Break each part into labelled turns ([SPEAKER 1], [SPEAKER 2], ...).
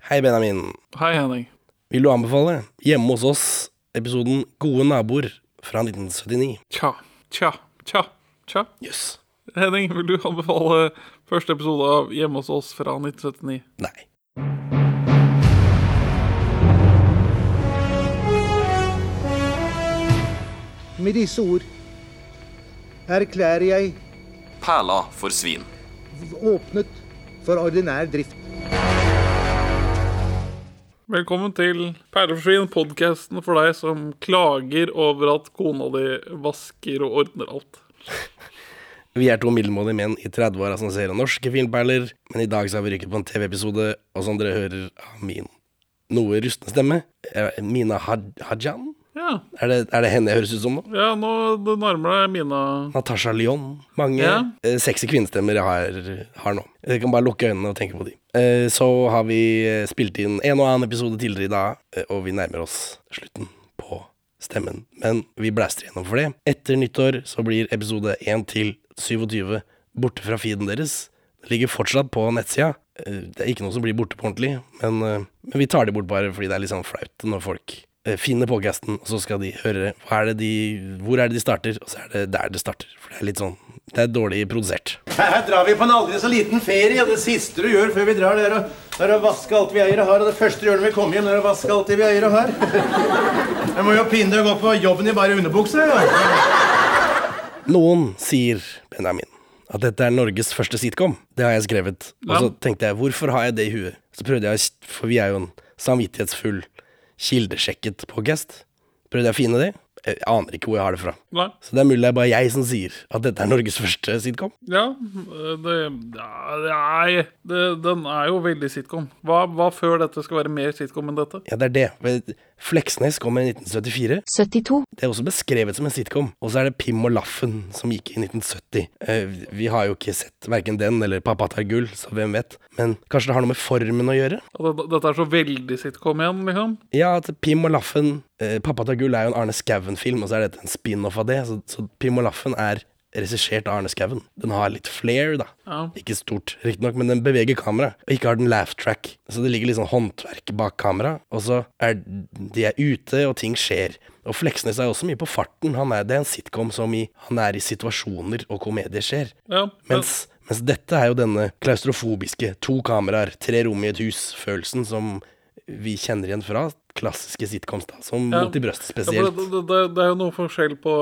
[SPEAKER 1] Hei, Benjamin.
[SPEAKER 2] Hei, Henning.
[SPEAKER 1] Vil du anbefale Hjemme hos oss, episoden Gode naboer fra 1979?
[SPEAKER 2] Tja, tja, tja, tja.
[SPEAKER 1] Jøss.
[SPEAKER 2] Henning, vil du anbefale første episode av Hjemme hos oss fra 1979?
[SPEAKER 1] Nei.
[SPEAKER 3] Med disse ord erklærer jeg
[SPEAKER 4] Perla for svin.
[SPEAKER 3] åpnet for ordinær drift.
[SPEAKER 2] Velkommen til Perleforsvin, podkasten for deg som klager over at kona di vasker og ordner alt.
[SPEAKER 1] Vi er to middelmådige menn i 30-åra som ser norske filmperler, men i dag så har vi rykket på en TV-episode, og som dere hører av min noe rustne stemme, eh, Mina Had Hajan?
[SPEAKER 2] Ja,
[SPEAKER 1] Er det, er det henne jeg høres ut som nå?
[SPEAKER 2] ja nå det nærmer deg Mina.
[SPEAKER 1] Natasha Lyon. Mange
[SPEAKER 2] Ja.
[SPEAKER 1] eh, sexy kvinnestemmer jeg har, har nå. Jeg kan bare lukke øynene og tenke på de. Eh, så har vi eh, spilt inn en og annen episode tidligere i dag, eh, og vi nærmer oss slutten på stemmen. Men vi blaster gjennom for det. Etter nyttår så blir episode 1 til 27 borte fra feeden deres. Det ligger fortsatt på nettsida. Eh, Det er ikke noe som blir borte på ordentlig, men, eh, men vi tar det bort bare fordi det er litt sånn flaut når folk eh, finner podcasten, og så skal de høre hva er det de, hvor er det de starter, og så er det der det starter. For det er litt sånn Det er dårlig produsert.
[SPEAKER 5] Her, her drar vi på en aldri så liten ferie. Det siste du gjør før vi drar, det er å, det er å vaske alt vi eier og har. Og det første du gjør når vi kommer hjem, det er å vaske alt det vi eier og har. Jeg må jo pinne gå på jobben i bare underbukser. Ja.
[SPEAKER 1] Noen sier, Benjamin, at dette er Norges første sitcom. Det har jeg skrevet. Og så
[SPEAKER 2] Ja.
[SPEAKER 1] tenkte jeg, hvorfor har jeg det i huet? Så prøvde jeg, å- for vi er jo en samvittighetsfull, kildesjekket podcast. Prøvde jeg å finne det? Jeg aner ikke hvor jeg har det fra.
[SPEAKER 2] Nei.
[SPEAKER 1] Så det er mulig det er bare jeg som sier at dette er Norges første sitcom.
[SPEAKER 2] Ja, det ja, Nei, det, den er jo veldig sitcom. Hva, hva før dette skal være mer sitcom enn dette?
[SPEAKER 1] Ja, det er det. Vel, Fleksnes kom i 1974.
[SPEAKER 6] 72.
[SPEAKER 1] Det er også beskrevet som en sitcom. Og så er det Pim og Laffen som gikk i 1970. Eh, Vi har jo ikke sett verken den eller Pappa tar gull, så hvem vet. Men kanskje det har noe med formen å gjøre?
[SPEAKER 2] At det- Altså, Dette er så veldig sitcom igjen, liksom?
[SPEAKER 1] Ja, at Pim og Laffen eh, Pappa tar gull er jo en Arne Skouen-film, og så er dette en spin-off av det. Så, så Pim og Laffen er regissert av Arne Skouen. Den har litt flair, da.
[SPEAKER 2] Ja.
[SPEAKER 1] Ikke stort, riktignok, men den beveger kameraet. Og ikke har den laugh track. Så det ligger litt sånn håndverk bak kamera. Og så er de er ute, og ting skjer. Og Fleksnes er jo også mye på farten. Han er, det er en sitcom som i Han er i situasjoner, og komedier skjer.
[SPEAKER 2] Ja, men,
[SPEAKER 1] Mens, mens dette er jo denne klaustrofobiske to kameraer, tre rom i et hus-følelsen som vi kjenner igjen fra klassiske sitcoms, da, som
[SPEAKER 2] Ja.
[SPEAKER 1] Mot i brøstet
[SPEAKER 2] ja, men
[SPEAKER 1] spesielt.
[SPEAKER 2] det, det, det- det er jo noe forskjell på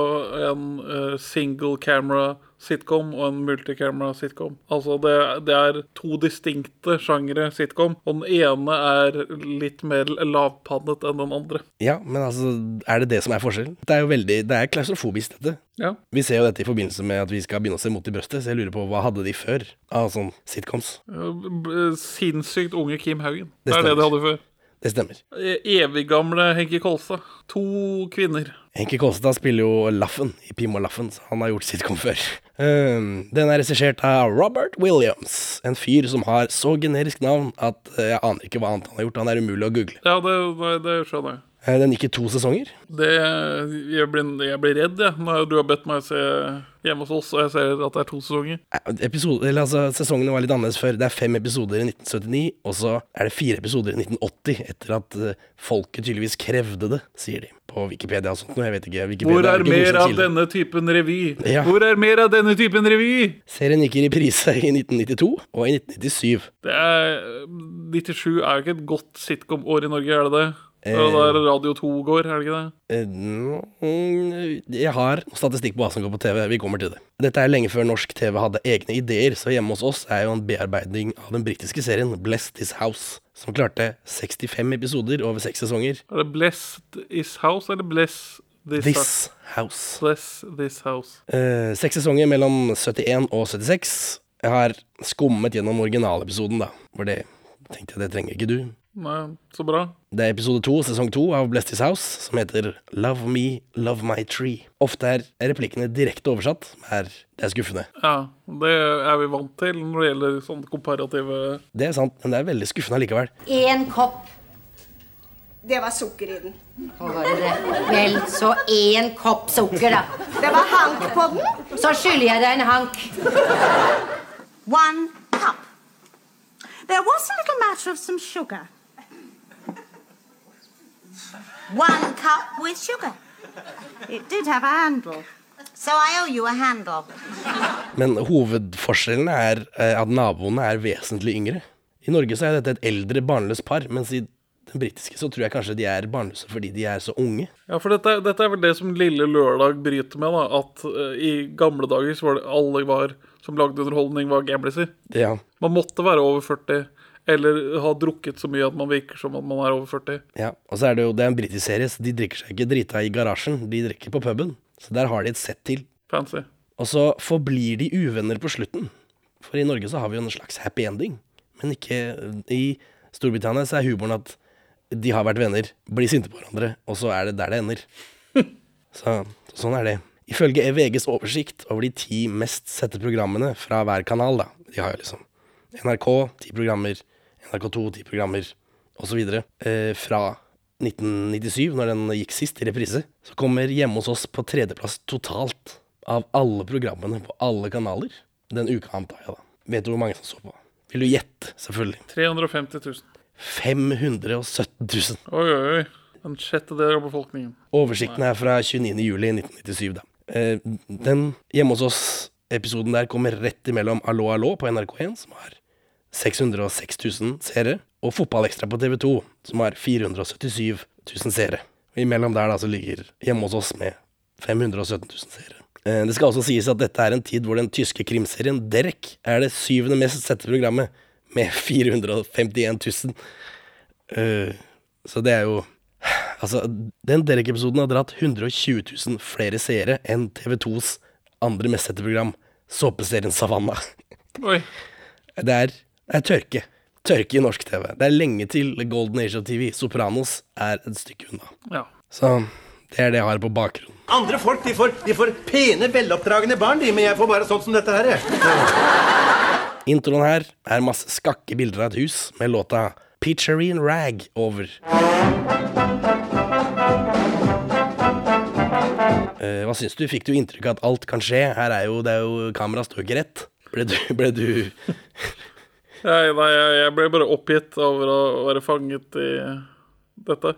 [SPEAKER 2] en eh, single camera sitcom og en multicamera sitcom. Altså, det, det er to distinkte sjangere sitcom, og den ene er litt mer lavpannet enn den andre.
[SPEAKER 1] Ja, men altså, er det det som er forskjellen? Det er jo veldig, det er klaustrofobisk, dette.
[SPEAKER 2] Ja.
[SPEAKER 1] Vi ser jo dette i forbindelse med at vi skal begynne å se Mot i brøstet, så jeg lurer på hva hadde de før av sånn sitcoms?
[SPEAKER 2] Eh, b- Sinnssykt unge Kim Haugen.
[SPEAKER 1] Det
[SPEAKER 2] Det er det de
[SPEAKER 1] stemmer.
[SPEAKER 2] hadde før.
[SPEAKER 1] Det stemmer.
[SPEAKER 2] E- Eviggamle Henki Kolstad. To kvinner.
[SPEAKER 1] Henki Kolstad spiller jo Laffen i Pim og Laffen, så han har gjort sitcom før. Um, den er regissert av Robert Williams, en fyr som har så generisk navn at eh, jeg aner ikke hva annet han har gjort, han er umulig å google.
[SPEAKER 2] Ja, det, det, det skjønner jeg.
[SPEAKER 1] Eh, Den gikk i to sesonger.
[SPEAKER 2] Det, jeg, blir, jeg blir redd, jeg, når du har bedt meg se Hjemme hos oss, og jeg ser at det er to sesonger.
[SPEAKER 1] Eh, Episode, eller altså, sesongene var litt annerledes før. Det er fem episoder i 1979, og så er det fire episoder i 1980, etter at eh, folket tydeligvis krevde det, sier de på Wikipedia og sånt noe. Jeg vet ikke. Wikipedia
[SPEAKER 2] Hvor er
[SPEAKER 1] jo ikke noe
[SPEAKER 2] mer
[SPEAKER 1] som
[SPEAKER 2] av
[SPEAKER 1] kilde.
[SPEAKER 2] denne typen revy?
[SPEAKER 1] Ja.
[SPEAKER 2] Hvor er mer av denne typen revy?
[SPEAKER 1] Serien gikk i reprise i 1992 og i 1997.
[SPEAKER 2] Det er, 97 er jo ikke et godt sitcom-år i Norge, er det det? Det er jo der Radio 2 går, er det ikke det?
[SPEAKER 1] Eh, mm, Jeg har statistikk på hva som går på TV. Vi kommer til det. Dette er lenge før norsk TV hadde egne ideer, så hjemme hos oss er jo en bearbeiding av den britiske serien Bless This House, som klarte 65 episoder over seks sesonger.
[SPEAKER 2] Er det Blessed Is House eller Bless This, House?
[SPEAKER 1] This House.
[SPEAKER 2] Bless This House.
[SPEAKER 1] Eh, Seks sesonger mellom 71 og 76. Jeg har skummet gjennom originalepisoden, da, for det tenkte jeg det trenger ikke du.
[SPEAKER 2] Nei, så bra.
[SPEAKER 1] Det er episode to, sesong to av Bless This House, som heter Love Me, Love My Tree. Ofte er replikkene direkte oversatt, men det er skuffende.
[SPEAKER 2] Ja, det er vi vant til når det gjelder sånne komparative
[SPEAKER 1] Det er sant, men det er veldig skuffende allikevel.
[SPEAKER 7] Én kopp. Det var sukker i den.
[SPEAKER 6] Hva var det det? Vel, så én kopp sukker, da.
[SPEAKER 7] Det var hank på den.
[SPEAKER 6] Så skylder jeg deg en hank.
[SPEAKER 8] one cup. There was a little matter of some sugar. One cup with sugar. It did have a handle. So I owe you a handle.
[SPEAKER 1] Men hovedforskjellen er eh, at naboene er vesentlig yngre. I Norge så er dette et eldre barnløst par, mens i den britiske så tror jeg kanskje de er barnløse fordi de er så unge.
[SPEAKER 2] Ja, for dette, dette er vel det som Lille Lørdag bryter med, da. At eh, i gamle dager så var det alle var, som lagde underholdning, var gambliser.
[SPEAKER 1] Det, ja.
[SPEAKER 2] Man måtte være over 40, eller ha drukket så mye at man virker som at man er over 40.
[SPEAKER 1] Ja, og så er det jo det er en britisk serie, så de drikker seg ikke drita i garasjen, de drikker på puben. Så der har de et sett til.
[SPEAKER 2] Fancy.
[SPEAKER 1] Og så forblir de uvenner på slutten. For i Norge så har vi jo en slags happy ending. Men ikke I Storbritannia så er humoren at de har vært venner, blir sinte på hverandre, og så er det der det ender. Så sånn er det. Ifølge VGs oversikt over de ti mest sette programmene fra hver kanal, da. De har jo liksom NRK ti programmer, NRK2 ti programmer, osv. Eh, fra 1997, når den gikk sist i reprise, så kommer Hjemme hos oss på tredjeplass totalt av alle programmene på alle kanaler. Den uka antar jeg, da. Vet du hvor mange som så på? Vil du gjette, selvfølgelig.
[SPEAKER 2] 350 000.
[SPEAKER 1] 517 000.
[SPEAKER 2] Oi, oi, oi. En sjettedel av befolkningen.
[SPEAKER 1] Oversikten er fra 29. juli 1997, da. Eh, Den Hjemme hos oss-episoden der kommer rett imellom Allo Allo på NRK1, som har 606 000 seere, og Fotballekstra på TV2, som har 477 000 seere. Og Imellom der da så ligger Hjemme hos oss med 517 000 seere. Eh, Det skal også sies at dette er en tid hvor den tyske krimserien Derek er det syvende mest sette programmet, med 451 000. Eh, Så det er jo Altså, den Derek-episoden har dratt 120 000 flere seere enn TV2s andre mestsette program, såpeserien Savanna.
[SPEAKER 2] Oi.
[SPEAKER 1] Det er, det er tørke. Tørke i norsk TV. Det er lenge til The Golden Age of TV. Sopranos er et stykke unna.
[SPEAKER 2] Ja.
[SPEAKER 1] Så det er det jeg har på bakgrunnen.
[SPEAKER 5] Andre folk de får, de får pene, veloppdragne barn, de, men jeg får bare sånt som dette her. jeg.
[SPEAKER 1] Introen her er masse skakke bilder av et hus med låta Pitcherine Rag over. Eh, hva syns du? Fikk du inntrykk av at alt kan skje? Her er jo, det er jo Kameraet står jo ikke rett. Ble du, ble du
[SPEAKER 2] Jeg, nei, jeg, jeg ble bare oppgitt over å være fanget i dette,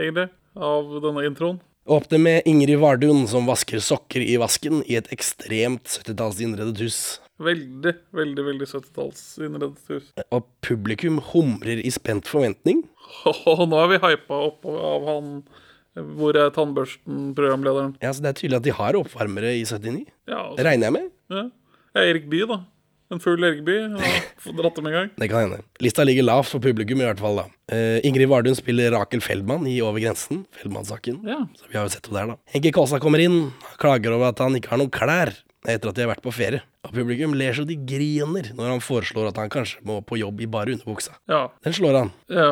[SPEAKER 2] egentlig. Av denne introen.
[SPEAKER 1] Åpne med Ingrid Vardun som vasker sokker i vasken i et ekstremt 70-tallsinnredet hus.
[SPEAKER 2] Veldig, veldig veldig 70-tallsinnredet hus.
[SPEAKER 1] Og publikum humrer i spent forventning.
[SPEAKER 2] Åh, nå er vi hypa opp av han Hvor er tannbørsten-programlederen?
[SPEAKER 1] Ja, så Det er tydelig at de har oppvarmere i 79.
[SPEAKER 2] Ja, altså,
[SPEAKER 1] Regner jeg med?
[SPEAKER 2] ja. Ja, Erik Bye, da. En fugl Erik Bye. Ja, Få dratt dem i gang.
[SPEAKER 1] Det kan hende. Lista ligger lavt for publikum, i hvert fall. da. Eh, Ingrid Vardun spiller Rakel Feldman i Over grensen, Feldman-saken.
[SPEAKER 2] Ja.
[SPEAKER 1] Så vi har jo sett henne der, da. Henki Kaasa kommer inn, han klager over at han ikke har noen klær etter at de har vært på ferie. Og publikum ler så de griner når han foreslår at han kanskje må på jobb i bare underbuksa.
[SPEAKER 2] Ja.
[SPEAKER 1] Den slår han.
[SPEAKER 2] Ja.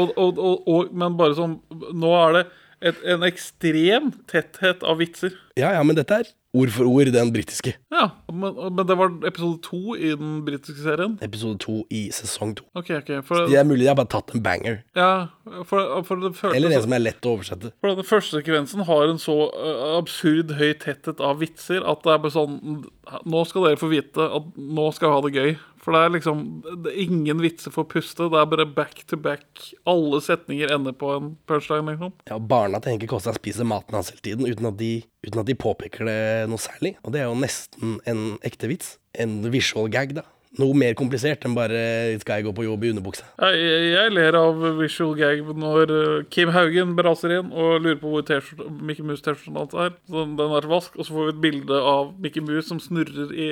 [SPEAKER 2] og, og, og, og, men bare sånn Nå er det et, en ekstrem tetthet av vitser.
[SPEAKER 1] Ja ja, men dette er ord for ord den britiske.
[SPEAKER 2] Ja, men, men det var episode to i den britiske serien.
[SPEAKER 1] Episode to i sesong to.
[SPEAKER 2] Ok, ok. For,
[SPEAKER 1] Det er mulig de har bare tatt en banger.
[SPEAKER 2] ja, for, for, det
[SPEAKER 1] Eller en
[SPEAKER 2] føltes,
[SPEAKER 1] som er lett å oversette.
[SPEAKER 2] for den første sekvensen har en så eh, absurd høy tetthet av vitser at det er bare sånn Nå skal dere få vite at nå skal jeg ha det gøy. For det er liksom det er ingen vitser for puste. Det er bare back to back. Alle setninger ender på en punchline, liksom.
[SPEAKER 1] Ja, Barna til Henke Kåstad spiser maten hans hele tiden uten at, de, uten at de påpeker det noe særlig. Og det er jo nesten en ekte vits. En visual gag, da. Noe mer komplisert enn bare 'skal jeg gå på jobb i underbuksa'.
[SPEAKER 2] Jeg, jeg- jeg ler av visual gag når eh, Kim Haugen braser inn og lurer på hvor t-skjorte- Mickey Mouse-T-skjorten hans er. Så den, den er til vask, og så får vi et bilde av Mickey Mouse som snurrer i,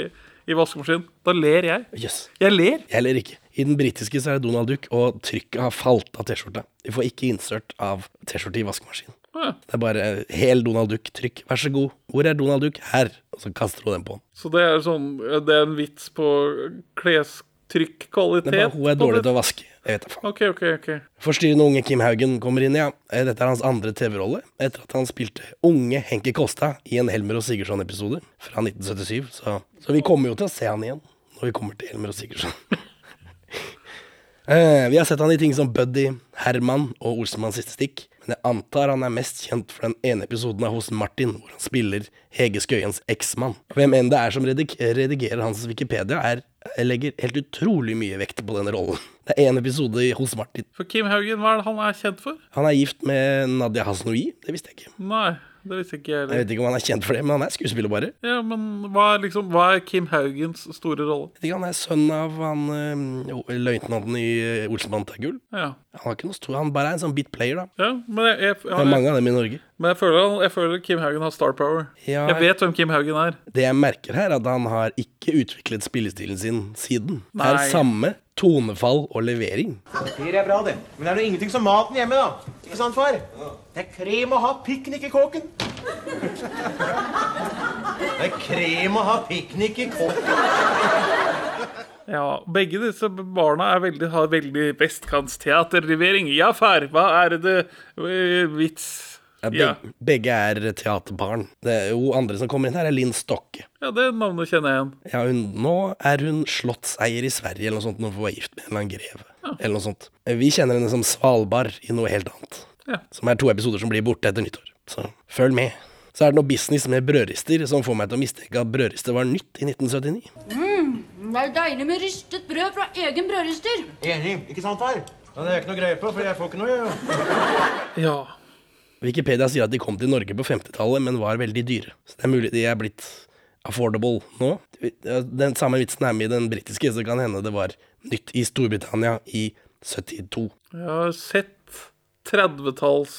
[SPEAKER 2] i vaskemaskinen. Da ler jeg.
[SPEAKER 1] Jøss.
[SPEAKER 2] Jeg ler!
[SPEAKER 1] Jeg Eller ikke. I den britiske så er det Donald Duck, og trykket har falt av T-skjorta. De får ikke insert av T-skjorte i vaskemaskinen.
[SPEAKER 2] Ja.
[SPEAKER 1] Det er bare hel Donald Duck-trykk. Vær så god. Hvor er Donald Duck? Her. Og så kaster hun den på han.
[SPEAKER 2] Så det er sånn Det er en vits på
[SPEAKER 1] Det er
[SPEAKER 2] klestrykkvalitet.
[SPEAKER 1] bare hun er dårlig til å vaske. Jeg vet da faen.
[SPEAKER 2] OK, OK. ok
[SPEAKER 1] Forstyrrende unge Kim Haugen kommer inn, ja. Eh, Dette er hans andre TV-rolle, etter at han spilte unge Henki Kåstad i en Helmer og Sigurdsson-episode fra 1977. Så, så vi kommer jo til å se han igjen når vi kommer til Helmer og Sigurdsson. Eh, vi har sett han i ting som Buddy, Herman og Olsenmanns siste stikk. men jeg antar han er mest kjent for den ene episoden av Hos Martin, hvor han spiller Hege Skøyens eksmann. Hvem enn det er som redik redigerer hans Wikipedia, er, legger helt utrolig mye vekt på den rollen. Det er én episode i Hos Martin.
[SPEAKER 2] For Kim Haugen, hva er det han er kjent for?
[SPEAKER 1] Han er gift med Nadia Hasnoi, det visste jeg ikke.
[SPEAKER 2] Nei, det visste ikke jeg
[SPEAKER 1] Jeg
[SPEAKER 2] heller.
[SPEAKER 1] vet ikke om han er kjent for det, men han er skuespiller, bare.
[SPEAKER 2] Ja, men hva er, liksom, hva er Kim Haugens store rolle?
[SPEAKER 1] Jeg vet ikke, Han er sønn av han eh, jo, løytnanten i eh, Olsenmann Tagul.
[SPEAKER 2] Ja.
[SPEAKER 1] Han har ikke noe stor, han bare er en sånn bit player, da.
[SPEAKER 2] ja men jeg, jeg,
[SPEAKER 1] Det er
[SPEAKER 2] jeg,
[SPEAKER 1] mange av dem i Norge.
[SPEAKER 2] men jeg, føler, han- jeg føler Kim Haugen har star power.
[SPEAKER 1] Ja.
[SPEAKER 2] Jeg vet hvem Kim Haugen er.
[SPEAKER 1] Det jeg merker her, er at han har ikke utviklet spillestilen sin siden. Det er
[SPEAKER 2] Nei.
[SPEAKER 1] samme tonefall og levering.
[SPEAKER 5] Ferie er bra, det. Men er det ingenting som maten hjemme, da? Ikke sant, far? Det er krem å ha piknik i kåken. Det er krem å ha piknik i kåken.
[SPEAKER 2] Ja, Begge disse barna er veldig, har veldig vestkantsteaterlevering. Ja, far, hva er det eh, vits
[SPEAKER 1] Ja, beg
[SPEAKER 2] Ja.
[SPEAKER 1] Begge er teaterbarn. Det er jo andre som kommer inn her, er Linn Stokke.
[SPEAKER 2] ja, det navnet kjenner jeg igjen.
[SPEAKER 1] Ja, hun, nå er hun slottseier i Sverige eller noe sånt, når hun var gift med en eller annen greve. Eller noe sånt. Vi kjenner henne som Svalbard i noe helt annet.
[SPEAKER 2] Ja.
[SPEAKER 1] Som er to episoder som blir borte etter nyttår. Så følg med. Så er det noe business med brødrister som får meg til å mistenke at brødrister var nytt i 1979.
[SPEAKER 9] Det er deilig med rystet brød fra egen brødrister.
[SPEAKER 5] Enig, ikke sant, far? Ja, det er ikke noe greie på, for jeg får ikke noe. jeg, jo.
[SPEAKER 2] Ja.
[SPEAKER 1] Wikipedia sier at de kom til Norge på 50-tallet, men var veldig dyre. Så det er mulig de er blitt affordable nå. Den samme vitsen er med i den britiske, så det kan hende det var nytt i Storbritannia i 72.
[SPEAKER 2] Jeg har sett 30-talls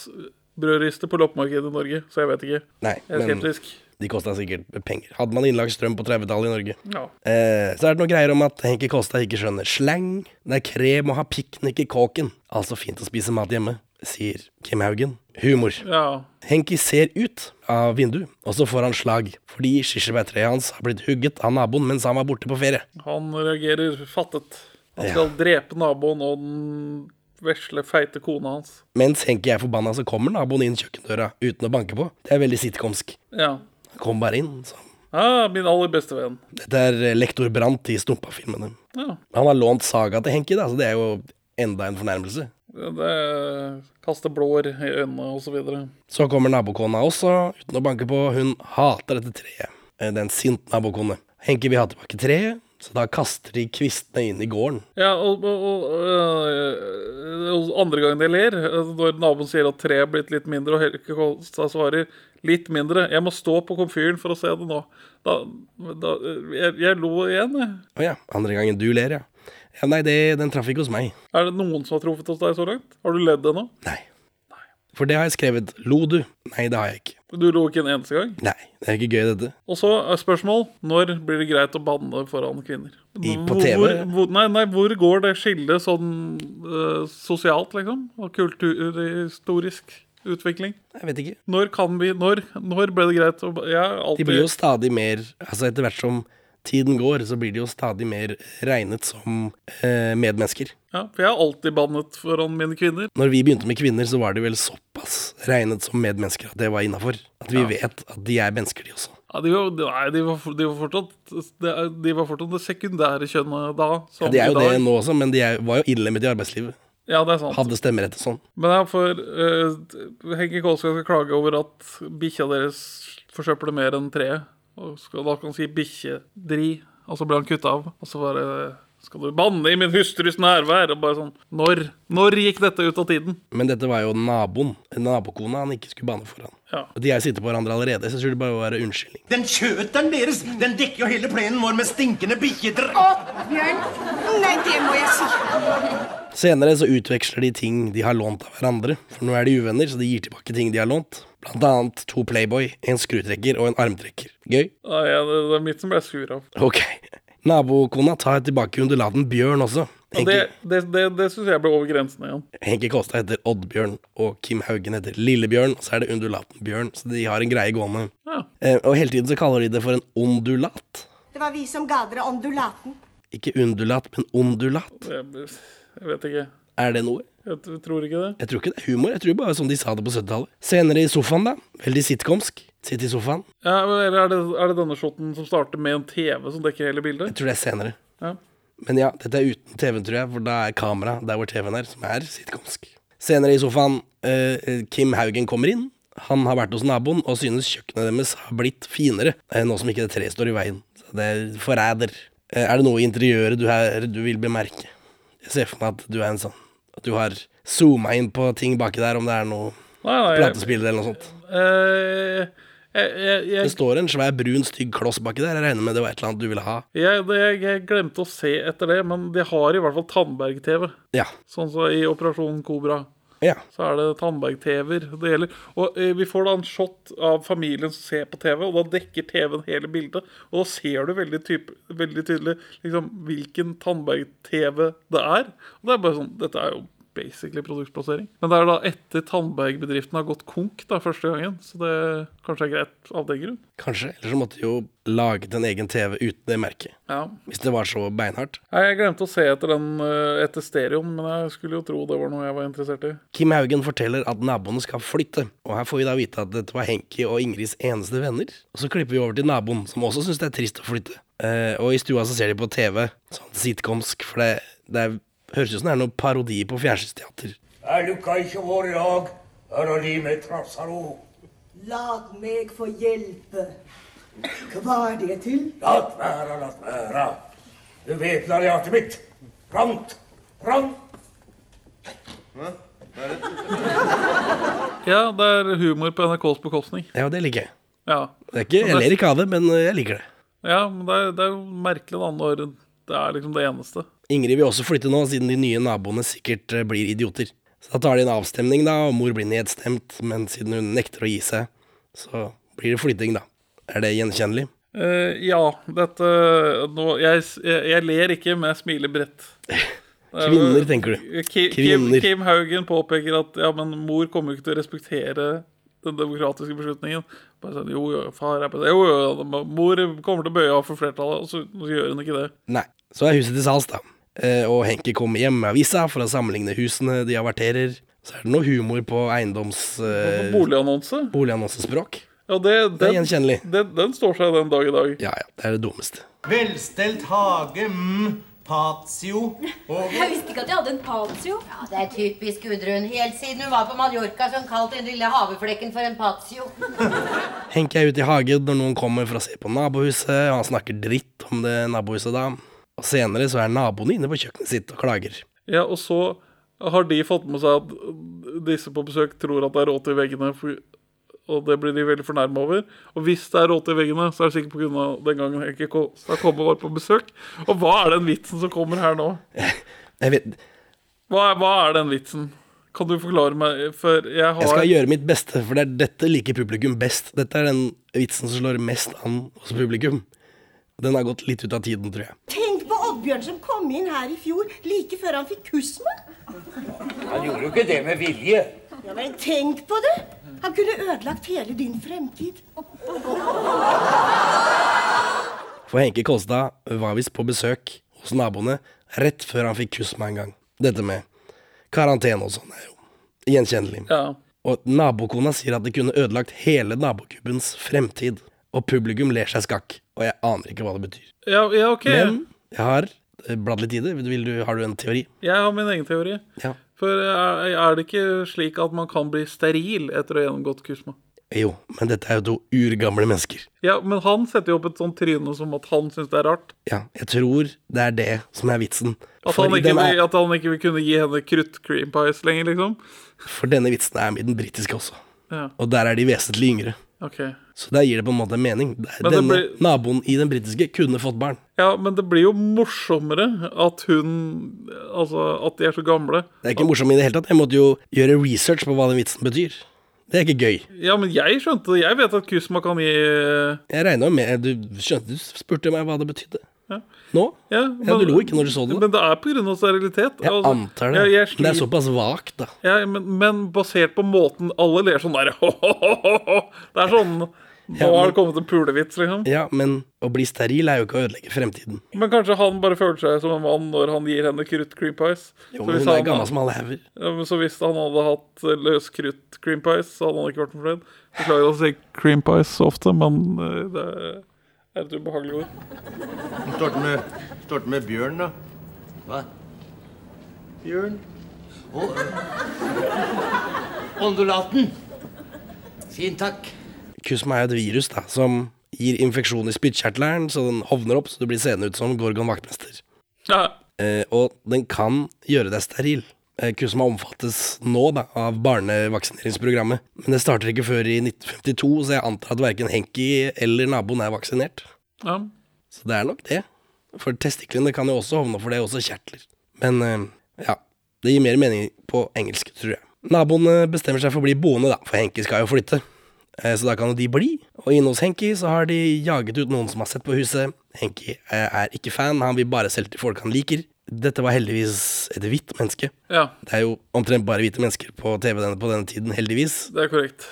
[SPEAKER 2] brødrister på loppemarkedet i Norge, så jeg vet ikke.
[SPEAKER 1] Nei,
[SPEAKER 2] Jeg er skeptisk.
[SPEAKER 1] de kosta sikkert penger. Hadde man innlagt strøm på 30-tallet i Norge.
[SPEAKER 2] Ja.
[SPEAKER 1] Eh, så er det noen greier om at Henki Kåstad ikke skjønner slang. Det er krem å ha piknik i kåken. Altså fint å spise mat hjemme, sier Kim Haugen. Humor.
[SPEAKER 2] ja.
[SPEAKER 1] Henki ser ut av vinduet, og så får han slag fordi kirsebærtreet hans har blitt hugget av naboen mens han var borte på ferie.
[SPEAKER 2] Han reagerer fattet. Han
[SPEAKER 1] Ja.
[SPEAKER 2] skal drepe naboen og den vesle, feite kona hans.
[SPEAKER 1] Mens Henki er forbanna, så kommer naboen inn kjøkkendøra uten å banke på. Det er veldig sitcomsk.
[SPEAKER 2] Ja.
[SPEAKER 1] Han kom bare inn. Så.
[SPEAKER 2] Ah, min aller beste venn.
[SPEAKER 1] Dette er eh, lektor Brandt i Stumpa-filmene.
[SPEAKER 2] Ja.
[SPEAKER 1] Han har lånt saga til Henki, da, så det er jo enda en fornærmelse.
[SPEAKER 2] Det er- Kaste blår i øynene og så videre.
[SPEAKER 1] Så kommer nabokona også, uten å banke på. Hun hater dette treet. Eh, Det er en sint nabokone. Henke vil ha tilbake treet, så da kaster de kvistene inn i gården.
[SPEAKER 2] Ja, og, og, og, øh, og andre gangen jeg ler, øh, når naboen sier at treet er blitt litt mindre, og Helge Kolstad svarer litt mindre 'Jeg må stå på komfyren for å se det nå'. Da, da, øh, jeg, jeg lo igjen, jeg.
[SPEAKER 1] Å ja, andre gangen du ler, ja. ja nei, det, den traff ikke hos meg.
[SPEAKER 2] Er det noen som har truffet hos deg så langt? Har du ledd ennå?
[SPEAKER 1] Nei. For det har jeg skrevet. Lo du? Nei, det har jeg ikke.
[SPEAKER 2] Du lo ikke en eneste gang?
[SPEAKER 1] Nei, det er ikke gøy, dette.
[SPEAKER 2] Og så er spørsmål når blir det greit å banne foran kvinner?
[SPEAKER 1] I- på
[SPEAKER 2] Hvor-
[SPEAKER 1] TV?
[SPEAKER 2] Hvor, hvor, nei, nei, hvor går det skillet sånn øh, sosialt, liksom? Og kulturhistorisk utvikling?
[SPEAKER 1] Jeg vet ikke.
[SPEAKER 2] Når kan vi Når, når ble det greit å ba- Jeg er
[SPEAKER 1] De
[SPEAKER 2] alltid
[SPEAKER 1] blir jo stadig mer Altså, etter hvert som tiden går, så blir de jo stadig mer regnet som eh, medmennesker.
[SPEAKER 2] ja, For jeg har alltid bannet foran mine kvinner.
[SPEAKER 1] Når vi begynte med kvinner, så var de vel såpass regnet som medmennesker at det var innafor. At vi vet at de er mennesker, de også.
[SPEAKER 2] Ja, de, var, nei, de, var, for- de, var fortsatt, det er- de var fortsatt det sekundære kjønnet da. Som
[SPEAKER 1] Ja, de er jo
[SPEAKER 2] i dag.
[SPEAKER 1] det nå også, men de er, var jo innlemmet i arbeidslivet.
[SPEAKER 2] Ja, det er sant.
[SPEAKER 1] Hadde stemmerett og sånn.
[SPEAKER 2] Men jeg får uh, Henki Kolskog skal klage over at bikkja deres forsøpler mer enn treet. Og skal, da kan han si 'bikkjedri', og så blir han kutta av. Og så bare skal du banne i min hustrus nærvær? Og bare sånn Når? Når gikk dette ut av tiden?
[SPEAKER 1] Men dette var jo naboen, nabokona, han ikke skulle bane foran.
[SPEAKER 2] Ja.
[SPEAKER 1] Og de er jo sittet på hverandre allerede, så jeg tror det bare må være unnskyldning.
[SPEAKER 5] Den kjøteren deres, den dekker jo hele plenen vår med stinkende bikkjedr...
[SPEAKER 7] Bjørn? Nei, det må jeg si.
[SPEAKER 1] Senere så utveksler de ting de har lånt av hverandre, for nå er de uvenner, så de gir tilbake ting de har lånt. Blant annet to Playboy, en skrutrekker og en armtrekker. Gøy?
[SPEAKER 2] Nei, ja, det, det er mitt som ble sur av.
[SPEAKER 1] Ok. Nabokona tar tilbake undulaten Bjørn også.
[SPEAKER 2] Og det det, det, det syns jeg ble over grensen igjen.
[SPEAKER 1] Henki Kåstad heter Oddbjørn, og Kim Haugen heter Lillebjørn, og så er det undulaten Bjørn, så de har en greie gående.
[SPEAKER 2] Ja.
[SPEAKER 1] Eh, og hele tiden så kaller de det for en ondulat.
[SPEAKER 7] Det var vi som ga dere ondulaten.
[SPEAKER 1] Ikke undulat, men ondulat.
[SPEAKER 2] Jeg, jeg vet ikke.
[SPEAKER 1] Er det noe?
[SPEAKER 2] Jeg t- tror ikke det.
[SPEAKER 1] Jeg tror ikke det er humor, jeg tror bare som de sa det på 70-tallet. Senere i sofaen, da. Veldig sitcomsk. Sitt i sofaen.
[SPEAKER 2] Ja, men Eller er det, er det denne shoten som starter med en TV som dekker hele
[SPEAKER 1] Jeg
[SPEAKER 2] bildet?
[SPEAKER 1] tror det er senere.
[SPEAKER 2] Ja.
[SPEAKER 1] Men ja, dette er uten TV-en, tror jeg, for da er kamera der hvor TV-en er, som er sitcomsk. Senere i sofaen, eh, Kim Haugen kommer inn. Han har vært hos naboen og synes kjøkkenet deres har blitt finere, eh, nå som ikke det treet står i veien. Så det er forræder. Eh, er det noe i interiøret du, er, du vil bemerke? Jeg ser for meg at du er en sånn At du har zooma inn på ting baki der, om det er noe
[SPEAKER 2] Nei, nei, jeg,
[SPEAKER 1] platespill eller noe sånt.
[SPEAKER 2] eh, jeg, jeg, jeg
[SPEAKER 1] Det står en svær, brun, stygg kloss baki der. Jeg regner med det var et eller annet du ville ha.
[SPEAKER 2] Jeg, det, jeg glemte å se etter det, men de har i hvert fall Tandberg-TV.
[SPEAKER 1] Ja.
[SPEAKER 2] Sånn som i Operasjon Kobra.
[SPEAKER 1] ja.
[SPEAKER 2] Så er det Tandberg-TV-er det gjelder. Og eh, Vi får da en shot av familien som ser på TV, og da dekker TV-en hele bildet. Og da ser du veldig, typ, veldig tydelig liksom, hvilken Tandberg-TV det er. Og det er bare sånn, Dette er jo basically produktplassering. Men det er da etter Tandberg-bedriften har gått konk da, første gangen, så det kanskje er greit av den grunn.
[SPEAKER 1] Kanskje. Eller så måtte de jo laget en egen TV uten det merket.
[SPEAKER 2] Ja,
[SPEAKER 1] Hvis det var så beinhardt.
[SPEAKER 2] Nei, Jeg glemte å se etter den eh, etter stereoen, men jeg skulle jo tro det var noe jeg var interessert i.
[SPEAKER 1] Kim Haugen forteller at naboene skal flytte, og her får vi da vite at dette var Henki og Ingrids eneste venner. Og så klipper vi over til naboen, som også syns det er trist å flytte. Eh, og i stua så ser de på TV, sånn sitcomsk, for det, det er, høres ut som det er noe parodi på fjernsynsteater.
[SPEAKER 10] Er du kanskje vår lag? Hører de med trassaro?
[SPEAKER 7] Lag meg få hjelpe. Hva er det til?
[SPEAKER 10] Latt være, latt være. Du vet lariatet mitt. Prant, prant.
[SPEAKER 2] Ja, det er humor på NRKs bekostning.
[SPEAKER 1] Ja, det liker jeg.
[SPEAKER 2] Ja,
[SPEAKER 1] Det er ikke, jeg ler ikke av det, men eh, jeg liker det.
[SPEAKER 2] ja men det er, det er jo merkelig da, når det er liksom det eneste.
[SPEAKER 1] Ingrid vil også flytte nå, siden de nye naboene sikkert eh, blir idioter. Så da tar de en avstemning, da, og mor blir nedstemt, men siden hun nekter å gi seg, så blir det flytting, da. Er det gjenkjennelig?
[SPEAKER 2] Eh, ja, dette nå, jeg, s- jeg, jeg ler ikke, men jeg smiler bredt.
[SPEAKER 1] Kvinner, tenker du.
[SPEAKER 2] Ki- Kim,
[SPEAKER 1] Kvinner.
[SPEAKER 2] Kim Haugen påpeker at ja, men mor kommer jo ikke til å respektere den demokratiske beslutningen. Bare sånn, jo, jo, far er på det. Jo, jo, mor kommer til å bøye av for flertallet, og så, så gjør hun ikke det.
[SPEAKER 1] Nei. Så er huset til salgs, da. Eh, og Henki kommer hjem med avisa for å sammenligne husene de averterer. Så er det noe humor på eiendoms... Eh,
[SPEAKER 2] Boligannonse?
[SPEAKER 1] Boligannonsespråk.
[SPEAKER 2] Ja, det,
[SPEAKER 1] Det
[SPEAKER 2] den,
[SPEAKER 1] er gjenkjennelig.
[SPEAKER 2] Den, den står seg den dag i dag.
[SPEAKER 1] Ja ja, det er det dummeste.
[SPEAKER 5] Velstelt hage, mm, patio og
[SPEAKER 9] Jeg visste ikke at jeg hadde en patio.
[SPEAKER 6] Ja, det er typisk Gudrun. Helt siden hun var på Mallorca, så hun kalte den lille haveflekken for en patio.
[SPEAKER 1] Henki er ute i hagen når noen kommer for å se på nabohuset, og han snakker dritt om det nabohuset da. Og senere så er naboene inne på kjøkkenet sitt og klager.
[SPEAKER 2] Ja, og så har de fått med seg at disse på besøk tror at det er råte i veggene, for, og det blir de veldig fornærma over. Og hvis det er råte i veggene, så er det sikkert pga. den gangen jeg ikke kom, så jeg kom og var på besøk. Og hva er den vitsen som kommer her nå?
[SPEAKER 1] Jeg, vet,
[SPEAKER 2] Hva er, hva er den vitsen? Kan du forklare meg? For jeg har
[SPEAKER 1] jeg skal gjøre mitt beste, for det er dette liker publikum best. Dette er den vitsen som slår mest an hos publikum. Den har gått litt ut av tiden, tror jeg.
[SPEAKER 7] Tenk på Oddbjørn som kom inn her i fjor, like før han fikk kusma.
[SPEAKER 10] Han gjorde jo ikke det med vilje.
[SPEAKER 7] Ja, men tenk på det! Han kunne ødelagt hele din fremtid.
[SPEAKER 1] For Henke Kolstad var visst på besøk hos naboene rett før han fikk kyss med en gang. Dette med karantene og sånn er jo gjenkjennelig.
[SPEAKER 2] ja.
[SPEAKER 1] Og nabokona sier at det kunne ødelagt hele nabokubbens fremtid. Og publikum ler seg skakk, og jeg aner ikke hva det betyr.
[SPEAKER 2] Ja, ja, OK.
[SPEAKER 1] Men jeg har eh, bladd litt i det. Vil du, har du en teori?
[SPEAKER 2] Jeg har min egen teori.
[SPEAKER 1] Ja.
[SPEAKER 2] For er, er det ikke slik at man kan bli steril etter å ha gjennomgått kursma?
[SPEAKER 1] Jo, men dette er jo to urgamle mennesker.
[SPEAKER 2] Ja, men han setter jo opp et sånt tryne som at han syns det er rart.
[SPEAKER 1] Ja, jeg tror det er det som er vitsen.
[SPEAKER 2] At
[SPEAKER 1] For,
[SPEAKER 2] han,
[SPEAKER 1] i
[SPEAKER 2] ikke,
[SPEAKER 1] den
[SPEAKER 2] vil-
[SPEAKER 1] er,
[SPEAKER 2] at han ikke vil kunne gi henne krutt cream pies lenger, liksom.
[SPEAKER 1] for denne vitsen er med i den britiske også.
[SPEAKER 2] Ja,
[SPEAKER 1] Og der er de vesentlig yngre.
[SPEAKER 2] ok.
[SPEAKER 1] Så der gir det på en måte mening. Det er-
[SPEAKER 2] Men det
[SPEAKER 1] Denne
[SPEAKER 2] blir-
[SPEAKER 1] naboen i den britiske kunne fått barn.
[SPEAKER 2] Ja, men det blir jo morsommere at hun Altså, at de er så gamle.
[SPEAKER 1] Det er ikke morsomt i det hele tatt. Jeg måtte jo gjøre research på hva den vitsen betyr. Det er ikke gøy.
[SPEAKER 2] Ja, men jeg skjønte det. Jeg vet at Kusma kan gi
[SPEAKER 1] Jeg regna med Du skjønte, du spurte meg hva det betydde. Nå?
[SPEAKER 2] Ja,
[SPEAKER 1] Ja, du lo ikke når du så den, da.
[SPEAKER 2] Men det er pga. sterilitet.
[SPEAKER 1] Jeg
[SPEAKER 2] Altså,
[SPEAKER 1] antar det.
[SPEAKER 2] Jeg, jeg
[SPEAKER 1] Men det er
[SPEAKER 2] sliter-
[SPEAKER 1] såpass vagt, da.
[SPEAKER 2] ja, men, men basert på måten alle ler sånn der Det er sånn Nå har det kommet en pulevits, liksom.
[SPEAKER 1] Ja, men å bli steril er jo ikke å ødelegge fremtiden.
[SPEAKER 2] Men kanskje han bare føler seg som en mann når han gir henne krutt cream pies.
[SPEAKER 1] Jo,
[SPEAKER 2] Så
[SPEAKER 1] men
[SPEAKER 2] hvis
[SPEAKER 1] hun er
[SPEAKER 2] han-
[SPEAKER 1] gammel som alle hauger.
[SPEAKER 2] Ja, men så hvis han hadde hatt eh, løs krutt cream pies, så hadde han ikke vært fornøyd. Beklager å si cream pies så ofte, men eh, det er et ubehagelig ord.
[SPEAKER 5] Starter med, starter med Bjørn, da. Hva? Bjørn.
[SPEAKER 11] Og Ondulaten. Fint, takk.
[SPEAKER 1] Kusma er jo et virus da, som gir infeksjon i spyttkjertelen, så den hovner opp, så du blir seende ut som Gorgon vaktmester. Eh, og den kan gjøre deg steril. Eh, Kusma omfattes nå da, av barnevaksineringsprogrammet, men det starter ikke før i 1952, så jeg antar at verken Henki eller naboen er vaksinert.
[SPEAKER 2] Ja.
[SPEAKER 1] Så det er nok det. For testiklene kan jo også hovne, for det er også kjertler. Men eh, ja, det gir mer mening på engelsk, tror jeg. Naboene bestemmer seg for å bli boende, da, for Henki skal jo flytte. Eh, Så da kan jo de bli. Og inne hos Henki så har de jaget ut noen som har sett på huset. Henki eh, er ikke fan, han vil bare selge til folk han liker. Dette var heldigvis et hvitt menneske.
[SPEAKER 2] Ja.
[SPEAKER 1] Det er jo omtrent bare hvite mennesker på TV denne, på denne tiden, heldigvis.
[SPEAKER 2] Det er korrekt.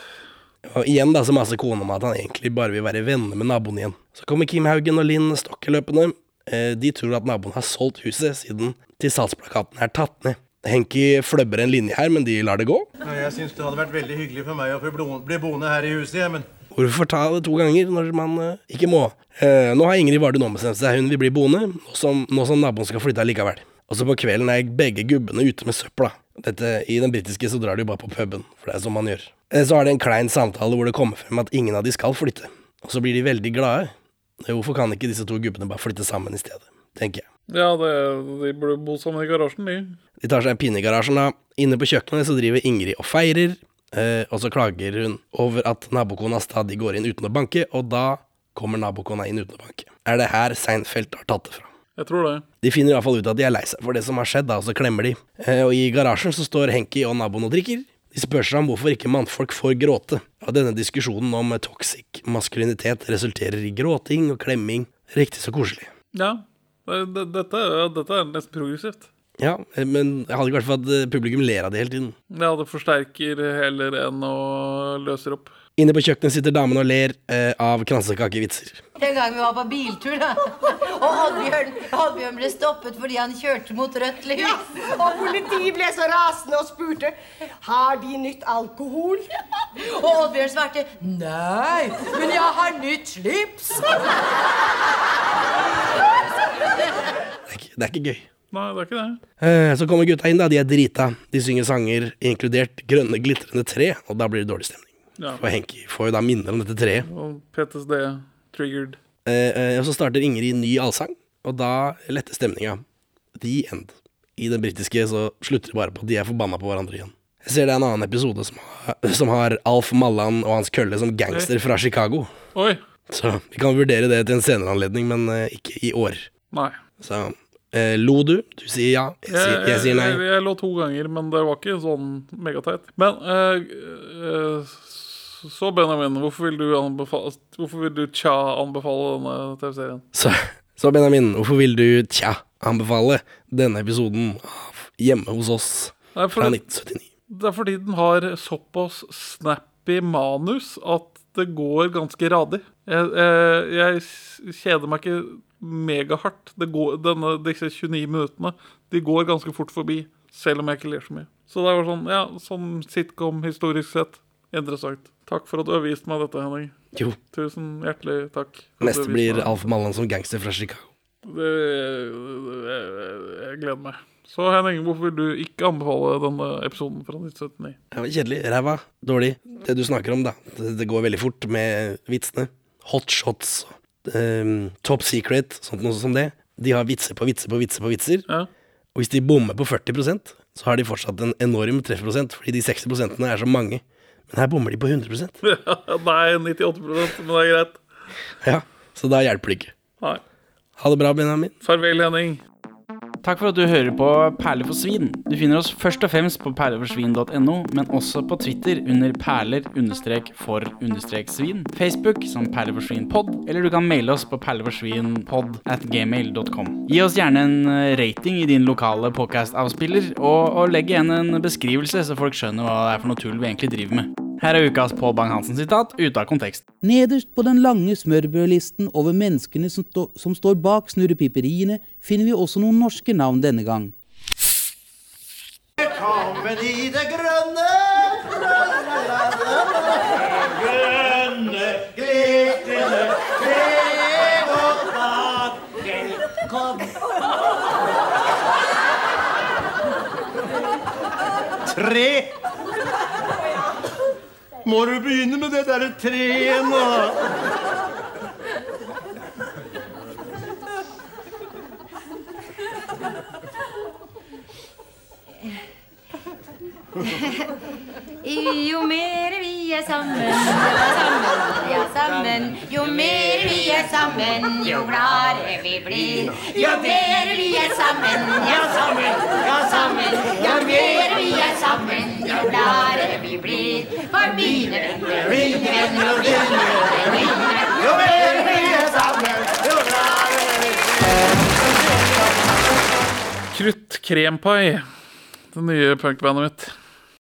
[SPEAKER 1] Og igjen da, så maser kona om at han egentlig bare vil være venner med naboen igjen. Så kommer Kim Haugen og Linn Stokke løpende. Eh, De tror at naboen har solgt huset, siden til salgsplakaten er tatt ned. Henki fløbber en linje her, men de lar det gå.
[SPEAKER 5] Ja, jeg syns det hadde vært veldig hyggelig for meg å få blo- bli boende her i huset, jeg, men
[SPEAKER 1] Hvorfor ta det to ganger når man eh, ikke må? Eh, nå har Ingrid Vardø ombestemt seg, hun vil bli boende, nå som, nå som naboen skal flytte allikevel. Og så på kvelden er begge gubbene ute med søpla. Dette, I den britiske så drar de jo bare på puben, for det er som man gjør. Eh, så er det en klein samtale hvor det kommer frem at ingen av de skal flytte. Og så blir de veldig glade. Eh, Hvorfor kan ikke disse to gubbene bare flytte sammen i stedet, tenker jeg.
[SPEAKER 2] Ja, det, de burde bo sammen i garasjen, de.
[SPEAKER 1] De tar seg en pinne i garasjen da. Inne på kjøkkenet så driver Ingrid og feirer, eh, og så klager hun over at nabokona stadig går inn uten å banke, og da kommer nabokona inn uten å banke. Er det her Seinfeld har tatt det fra?
[SPEAKER 2] Jeg tror det.
[SPEAKER 1] De finner i hvert fall ut at de er lei seg for det som har skjedd, da, og så klemmer de. Eh, og i garasjen så står Henki og naboen og drikker. De spør seg om hvorfor ikke mannfolk får gråte. Og denne diskusjonen om toxic maskulinitet resulterer i gråting og klemming. Riktig så koselig.
[SPEAKER 2] Ja. Det- det- Dette, er- dette er nesten progressivt.
[SPEAKER 1] Ja, eh, men jeg hadde ikke vært for at eh, publikum ler av det hele tiden.
[SPEAKER 2] Ja, det forsterker heller enn å løser opp.
[SPEAKER 1] Inne på kjøkkenet sitter damen og ler eh, av kransekakevitser.
[SPEAKER 6] Den gangen vi var på biltur, da. Og Oddbjørn, Oddbjørn ble stoppet fordi han kjørte mot rødt lys.
[SPEAKER 7] Ja, og politiet ble så rasende og spurte har de nytt alkohol.
[SPEAKER 6] Og Oddbjørn svarte nei, men jeg har nytt slips.
[SPEAKER 1] Det er ikke gøy.
[SPEAKER 2] Nei, det er ikke det.
[SPEAKER 1] Eh, så kommer gutta inn, da. De er drita. De synger sanger, inkludert Grønne glitrende tre, og da blir det dårlig stemning.
[SPEAKER 2] Ja.
[SPEAKER 1] For Henki får jo da minner om dette treet.
[SPEAKER 2] Og PTSD triggered.
[SPEAKER 1] Eh, eh, og så starter Ingrid ny allsang, og da letter stemninga. The end. I den britiske så slutter det bare på at de er forbanna på hverandre igjen. Jeg ser det er en annen episode som har, som har Alf Mallan og hans kølle som gangster fra Chicago.
[SPEAKER 2] Oi.
[SPEAKER 1] Så vi kan vurdere det til en senere anledning, men eh, ikke i år.
[SPEAKER 2] Nei.
[SPEAKER 1] Så eh, lo du? Du sier ja. Jeg sier, jeg sier nei.
[SPEAKER 2] Jeg, jeg lå to ganger, men det var ikke sånn megateit. Men eh, eh, så, Benjamin, hvorfor vil du, anbefale, hvorfor vil du tja anbefale denne TV-serien?
[SPEAKER 1] Så, så Benjamin, hvorfor vil du tja anbefale denne episoden av Hjemme hos oss
[SPEAKER 2] Nei, for
[SPEAKER 1] fra
[SPEAKER 2] det-
[SPEAKER 1] 1979?
[SPEAKER 2] Det er fordi den har såpass snappy manus at det går ganske radig. Jeg, jeg, jeg s- kjeder meg ikke megahardt. Det går, denne, disse 29 minuttene De går ganske fort forbi, selv om jeg ikke ler så mye. Så det var sånn, ja, sånn sitcom historisk sett. Interessant. Takk for at du har vist meg dette, Henning.
[SPEAKER 1] Jo.
[SPEAKER 2] Tusen hjertelig takk. for at du
[SPEAKER 1] Neste
[SPEAKER 2] har vist
[SPEAKER 1] blir
[SPEAKER 2] meg.
[SPEAKER 1] Alf Mallan som gangster fra Chicago.
[SPEAKER 2] Det, jeg, jeg gleder meg. Så Henning, hvorfor vil du ikke anbefale denne episoden fra 1979?
[SPEAKER 1] Det var Kjedelig. Ræva. Dårlig. Det du snakker om, da. Det, det går veldig fort med vitsene. Hot shots. ehm, top secret. Sånt noe som det. De har vitser på vitser på vitser på vitser. Og hvis de bommer på 40 så har de fortsatt en enorm treffprosent, fordi de 60 er så mange. Men her bommer de på 100
[SPEAKER 2] Nei, 98 men det er greit.
[SPEAKER 1] Ja, Så da hjelper det ikke.
[SPEAKER 2] Nei.
[SPEAKER 1] Ha det bra, Benjamin.
[SPEAKER 2] Farvel, Henning.
[SPEAKER 12] Takk for at du hører på Perler for svin. Du finner oss først og fremst på perleforsvin.no, men også på Twitter under perler-for-svin, Facebook som perleforsvinpod, eller du kan maile oss på perleforsvinpod at gmail.com. Gi oss gjerne en eh, rating i din lokale podcast-avspiller, og, og legg igjen en beskrivelse, så folk skjønner hva det er for noe tull vi egentlig driver med. Her er ukas Pål Bang-Hansen-sitat ute av kontekst.
[SPEAKER 13] Nederst på den lange smørbrødlisten over menneskene som, stå, som står bak snurrepiperiene, finner vi også noen norske navn denne gang.
[SPEAKER 5] Velkommen i det grønne Grønne, glitrende tre og bad. Velkommen. tre! Må du begynne med det derre treet nå?
[SPEAKER 6] Jo mer vi er sammen, ja, sammen, ja, sammen. Jo mer vi er sammen, jo gladere vi blir. Jo mer vi er sammen, ja, sammen, ja, sammen. Jo mer vi er sammen, jo gladere vi blir. For mine venner, mine venner og dine venner, mine venner. Jo mer vi er sammen, jo gladere vi blir.
[SPEAKER 2] Krutt krempai. Det nye punkbandet mitt.